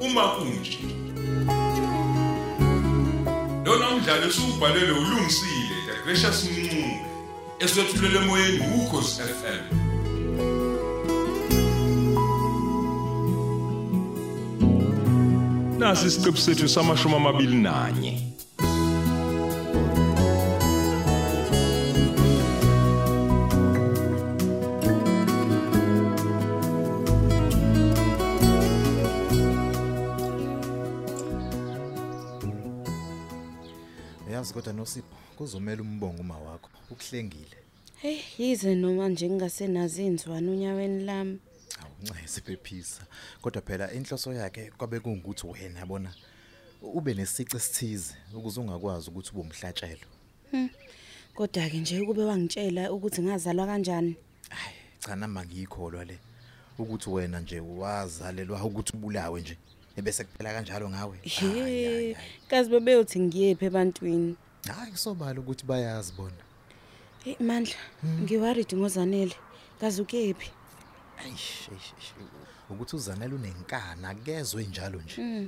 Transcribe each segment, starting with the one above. uma kunje lona umdlalo esiwubhalelwe ulungisile the gracious mncube eswetshulele emoyeni ukhosi FM nasi isiqephu sethu samashumi amabili nanye Uyazi kodwa noSipho kuzomela umbongo uma wakho ukuhlengile. Hey, Eh, yize noma nje ngingasenazi inzwana unyaweni lami. Awuncayise bephisa. Kodwa phela inhloso yakhe kwabe kungukuthi wena bona ube nesici esithize ukuze ungakwazi ukuthi ube umhlatshelo. Kodwa ke nje ukube wangitshela ukuthi ngazalwa kanjani. Hayi cha nama ngiyikholwa le ukuthi wena nje wazalelwa ukuthi ubulawe nje ebese kuphela kanjalo ngawe. Hayi, hayi, Hey, hayi. kazi bebeyothi ngiyephe ebantwini. Hayi sobala ukuthi bayazi bona. Hey Mandla, ngiworried ngozanele. Kazi ukephi? Eish, eish, eish. ukuthi uzanele unenkana kezwe njalo nje.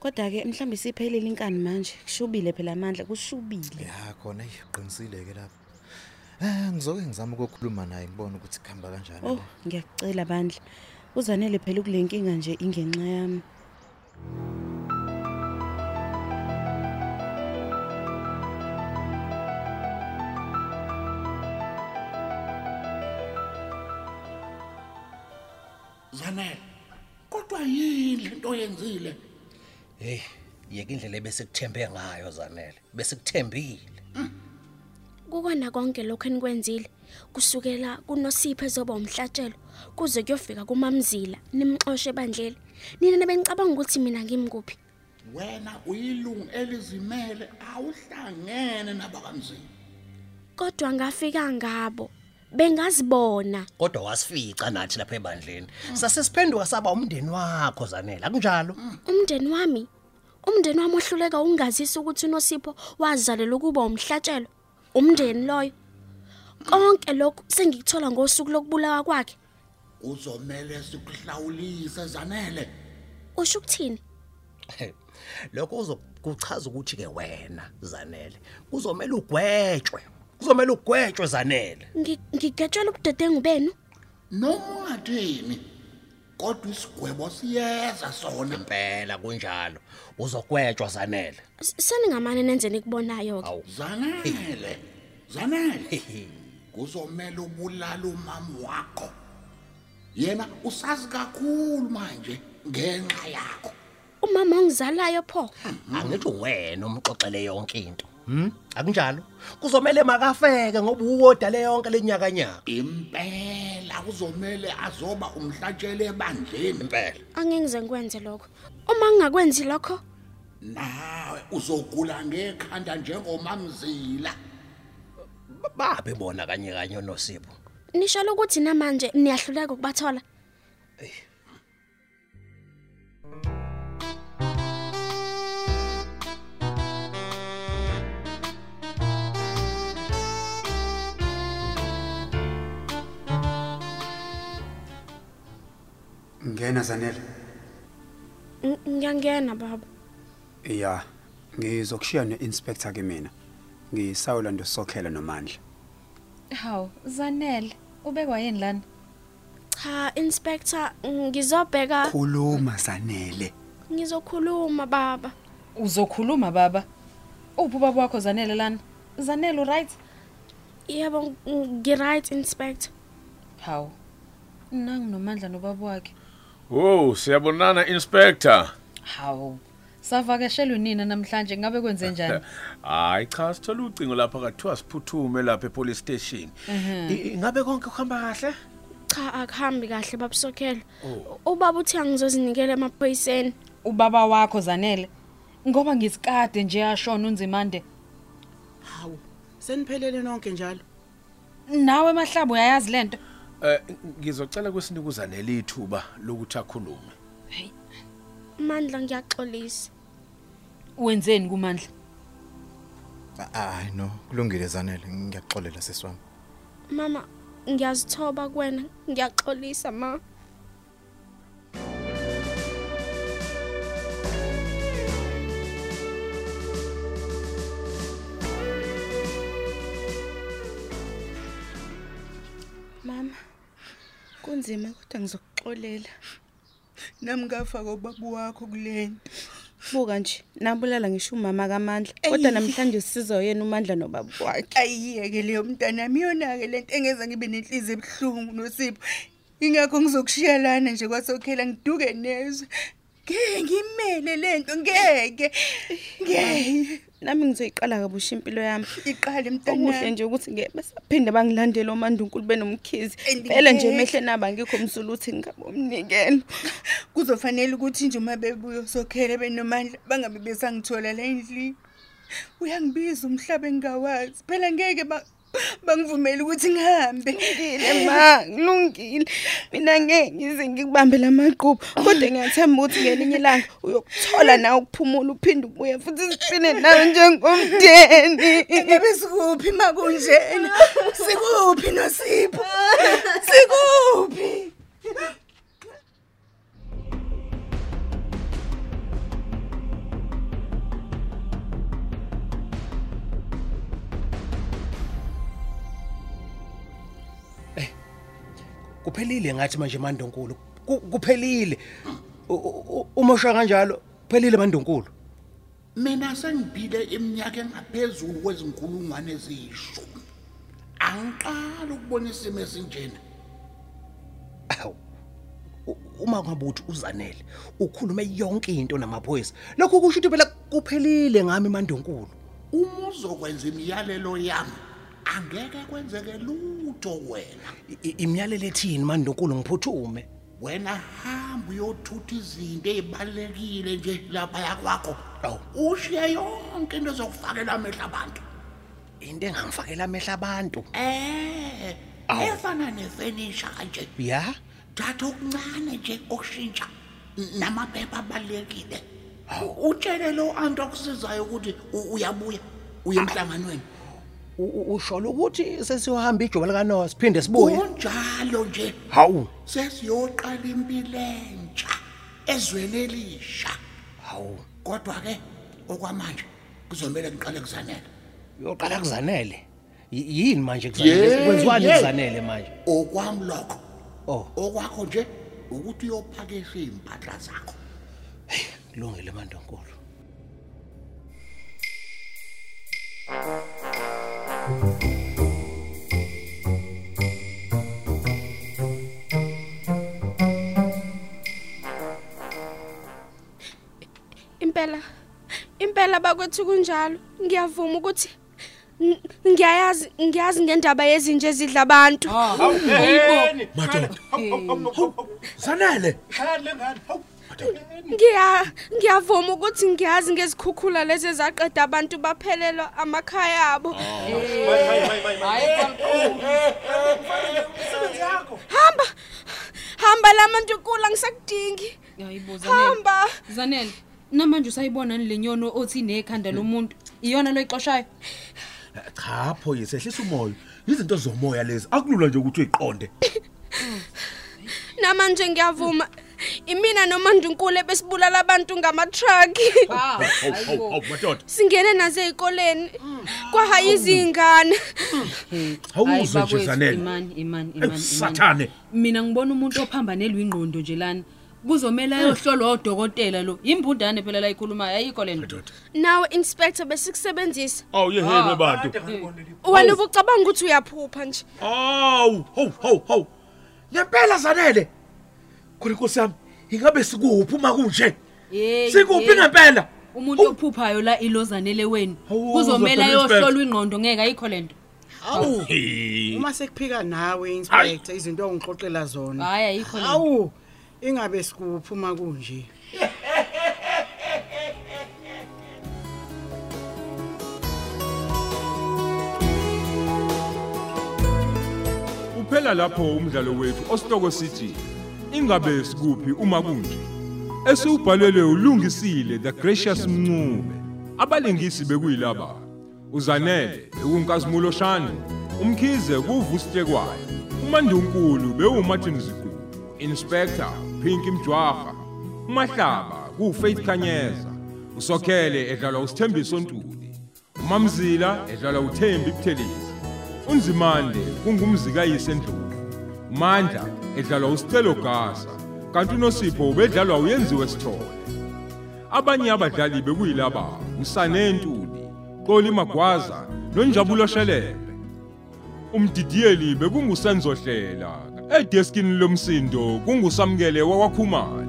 Kodwa ke mhlambe siphelile inkani manje. Kushubile phela Mandla, kushubile. Ya khona iqinisile ke lapho. Eh ngizoke ngizama ukukhuluma naye ngibone ukuthi kuhamba kanjani. Oh, ngiyakucela Bandla. Uzanele phela kulenkinga nje ingenxa yami. Zanele. Kodwa yini into oyenzile? Hey, yeke indlela ebesekuthembe ngayo zanele. Besekuthembile. Kukona konke lokho enikwenzile kusukela kunosipho ezoba umhlatshelo kuze kuyofika kumamzila nimxoshe bandlela. Nina nebenicabanga ukuthi mina ngimkuphi? Wena uyilungu elizimele awuhlangene nabakamzini. Kodwa ngafika ngabo. Bengazibona. Kodwa wasifica nathi lapha ebandleni. Sasesiphenduka saba umndeni wakho zanele, akunjalo? Umndeni wami, umndeni wami ohluleka ungazisa ukuthi uNosipho wazalelwa kuba umhlatshelo. Umndeni loyo. Konke lokhu sengikuthola ngosuku lokubulawa kwakhe. Uzomele sikuhlawulise Zanele. Usho ukuthini? Lokho kuzokuchaza ukuthi ke wena zanele kuzomela ugwetshwe. Kuzomela ugwetshwe zanele. Ngi- Ngigetshela ubudedengu benu. Noma ungathini. Kodwa isigwebo siyeza sona. Impela kunjalo. Uzogwetshwa zanele. S- Seningamane nenzeni kubonayo ke. Awu. Zanele. Zanele. Kuzomela ubulala umama wakho. Yena usazi kakhulu manje ngenxa yakho. Umama ongizalayo pho. Angithi wena umxoxele yonke into. Hm? Akunjalo? Kuzomela makafeke ngoba uwodale yonke lenyaka nyaka. impela kuzomele azoba umhlatshele ebandleni Impela. Angingize ngikwenze lokho. Uma ngingakwenzi lokho, nawe uzogula ngekhanda njengomamzila Babe bona kanye kanye noSipho. nisho ukuthi namanje niyahluleka ukubathola. Ngena Zanele. Ng- Ngiyangena baba. Ya. Ngizokushiya neinspector ke mina. Ngisawula ndosokhela nomandla. Haw, Zanele, ubekwa yini lana? Cha, inspector, ngizobheka Khuluma Zanele. ngizokhuluma baba. Uzokhuluma baba. Uphi ubaba wakho Zanele lana? Zanele right? Yebo, ng- ngi right inspector. Haw. Nangu nomandla nobaba wakhe. Oh, siyabonana inspector. Haw. Savakashelwe nina namhlanje ngabe kwenze njani? Hayi cha, sithola ucingo lapha kathiwa siphuthume lapha epolice station. I- Ingabe konke kuhamba kahle? Cha, akuhambi kahle babusokhela. Ubaba uthi angizozinikela emaphoyiseni. Ubaba wakho Zanele. Ngoba ngisikade nje yashona unzimande. Hawu, seniphelele nonke njalo. Nawe mahlabu uyayazi lento. Eh ngizocela kwesinikuzanele ithuba lokuthi akhulume. Mandla ngiyaxolisa. Wenzeni kumandla? Ah, Hayi no, kulungile Zanele, ngiyaxolela sesiwami. Mama, ngiyazithoba kuwena. Ngiyaxolisa ma. Kunzima kodwa ngizokuxolela. Nami ngafa kobaba wakho kulento. Buka nje, nabulala ngisho umama kaMandla, kodwa namhlanje usiza yena uMandla nobaba wakhe. ayiyeke leyo mntanami yona-ke le nto engeza ngibe nenhliziyo ebuhlungu nosipho ingakho ngizokushiyalana nje kwasokhela ngiduke nezwe ngeke ngimele le nto ngeke ngeke Nami ngizoyiqala kabusha impilo yami. Iqale mntanami. Okuhle nje ukuthi ngeke basaphinde bangilandele omandunkulu benoMkhize. Phela nje emehle naba ngikho umsulu uthi ngabomnikelo. kuzofanele ukuthi nje uma bebuya sokhele benomandla bangabe besangithola la endlini uyangibiza umhlaba engingawazi phela ngeke ba- bangivumele ukuthi ngihambe Ngilungile ma, ngilungile. Mina ngeke ngize ngikubambe lamaqhubu, kodwa ngiyathemba ukuthi ngelinye ilanga uyokuthola na ukuphumula uphinde ubuye futhi siphine nawe njengomndeni. Ngabe sikuphi makunjena? Sikuphi nosipho? Sikuphi? kuphelile ngathi manje mandonkulu Ku- kuphelile U- u- u- umosha kanjalo kuphelile mandonkulu mina sengiphile iminyaka engaphezulu kwezinkulungwane eziyishumi angiqali ukubona isimo esinjena awu u- uma ngabuthi uzanele ukhulume yonke into namaphoyisa lokho kusho ukuthi phela kuphelile ngami mandonkulu uma uzokwenza imiyalelo yami angeke kwenzeke lutho wena I- imiyalelo ethini mandonkulu ngiphuthume wena hamba uyothutha izinto ey'balulekile nje laphaya kwakho ushiye yonke into ezokufakela amehlo abantu into engangifakela amehlo abantu eh efana nefenisha kanje ya thatha okuncane nje okushintsha n- namaphepha abalulekile utshele lo antu akusizayo ukuthi u- uyabuya uye emhlanganweni usholo ukuthi sesiyohamba ijoba likanoa siphinde sibuye kunjalo nje hawu sesiyoqala impilo entsha ezweni elisha hawu kodwa-ke okwamanje kuzomele ngiqale kuzanele uyoqala kuzanele Y- yini manje Yeah, kuzanele kwenziwani yeah. kuzanele manje okwami lokho oh okwakho nje ukuthi uyophakisha iy'mpahla zakho kulungile mandonkulu Impela impela bakwethu kunjalo. Ngiyavuma ukuthi ng- ngiyayazi ngiyazi ngendaba yezinje ezidla abantu. Ah, madoda zanele shale ngani hawu Ngiya ngiyavuma ukuthi ngiyazi ngezikhukhula lezi ezaqeda abantu baphelelwa amakhaya abo. Ah, Hamba. Hamba lamantukula ngisakudingi. Hayibo Hamba. Zanele, namanje usayibona le nyono othi nekhanda lomuntu. Iyona lo ixoshayo. cha phoyisa ehlisa umoya izinto zomoya lezi akulula nje ukuthi uyiqonde Namanje ngiyavuma. Imina noMandunkulu besibulala abantu ngama-truck. hawu hawu hawu madoda Singene naze ezikoleni. Kwahaya izingane. awuzwe nje bakwethu, zanele Imani, imani, imani. imani. Sathane. Mina ngibona umuntu ophambanelwe ingqondo nje lana. Kuzomela ayohlolwa odokotela lo. Imbundane phela la ikhulumayo ayikho lento. Nawe inspector besikusebenzisa. awu Ah, yehebe bantu Wena ubucabanga ukuthi uyaphupha nje. awu hawu hawu hawu ngempela zanele khona inkosi yami ingabe sikuphi uma kunje Hey. sikuphi hey. ngempela Umuntu ophuphayo la ilozanele wenu. Kuzomela uzwa phela inspector. ayohlolwa ingqondo ngeke ayikho lento. Awu. Hey. Uma sekuphika nawe inspector izinto ongixoxela zona. Hayi, ayikho lento. Awu. Ingabe sikuphuma kunje. Uphela lapho umdlalo wethu ositoko sithi ingabe sikuphi uma kunje. Esiubhalelwe ulungisile the gracious Mncube. Abalingisi bekuyilaba. Uzanele bekunkazimulo Shani, uMkhize kuvusihle kwayo. uMandunkulu bewuMartin Zikulu, Inspector Pinky Mjwaha, uMahlaba kuFaith Khanyeza, uSokhele edlalwa uSthembiso Ntuli, uMamzila edlalwa uThembi Buthelezi. unzimande kungumzikayise ndlovu umandla edlalwa usithelo gaza kanti unosipho ubedlalwa uyenziwe sithole abanye abadlali bekuyilaba usane ntuli xoli magwaza nonjabulo shelembe umdidiyeli bekungusenzo hlela edeskini lomsindo kungusamkele wakwakhumalo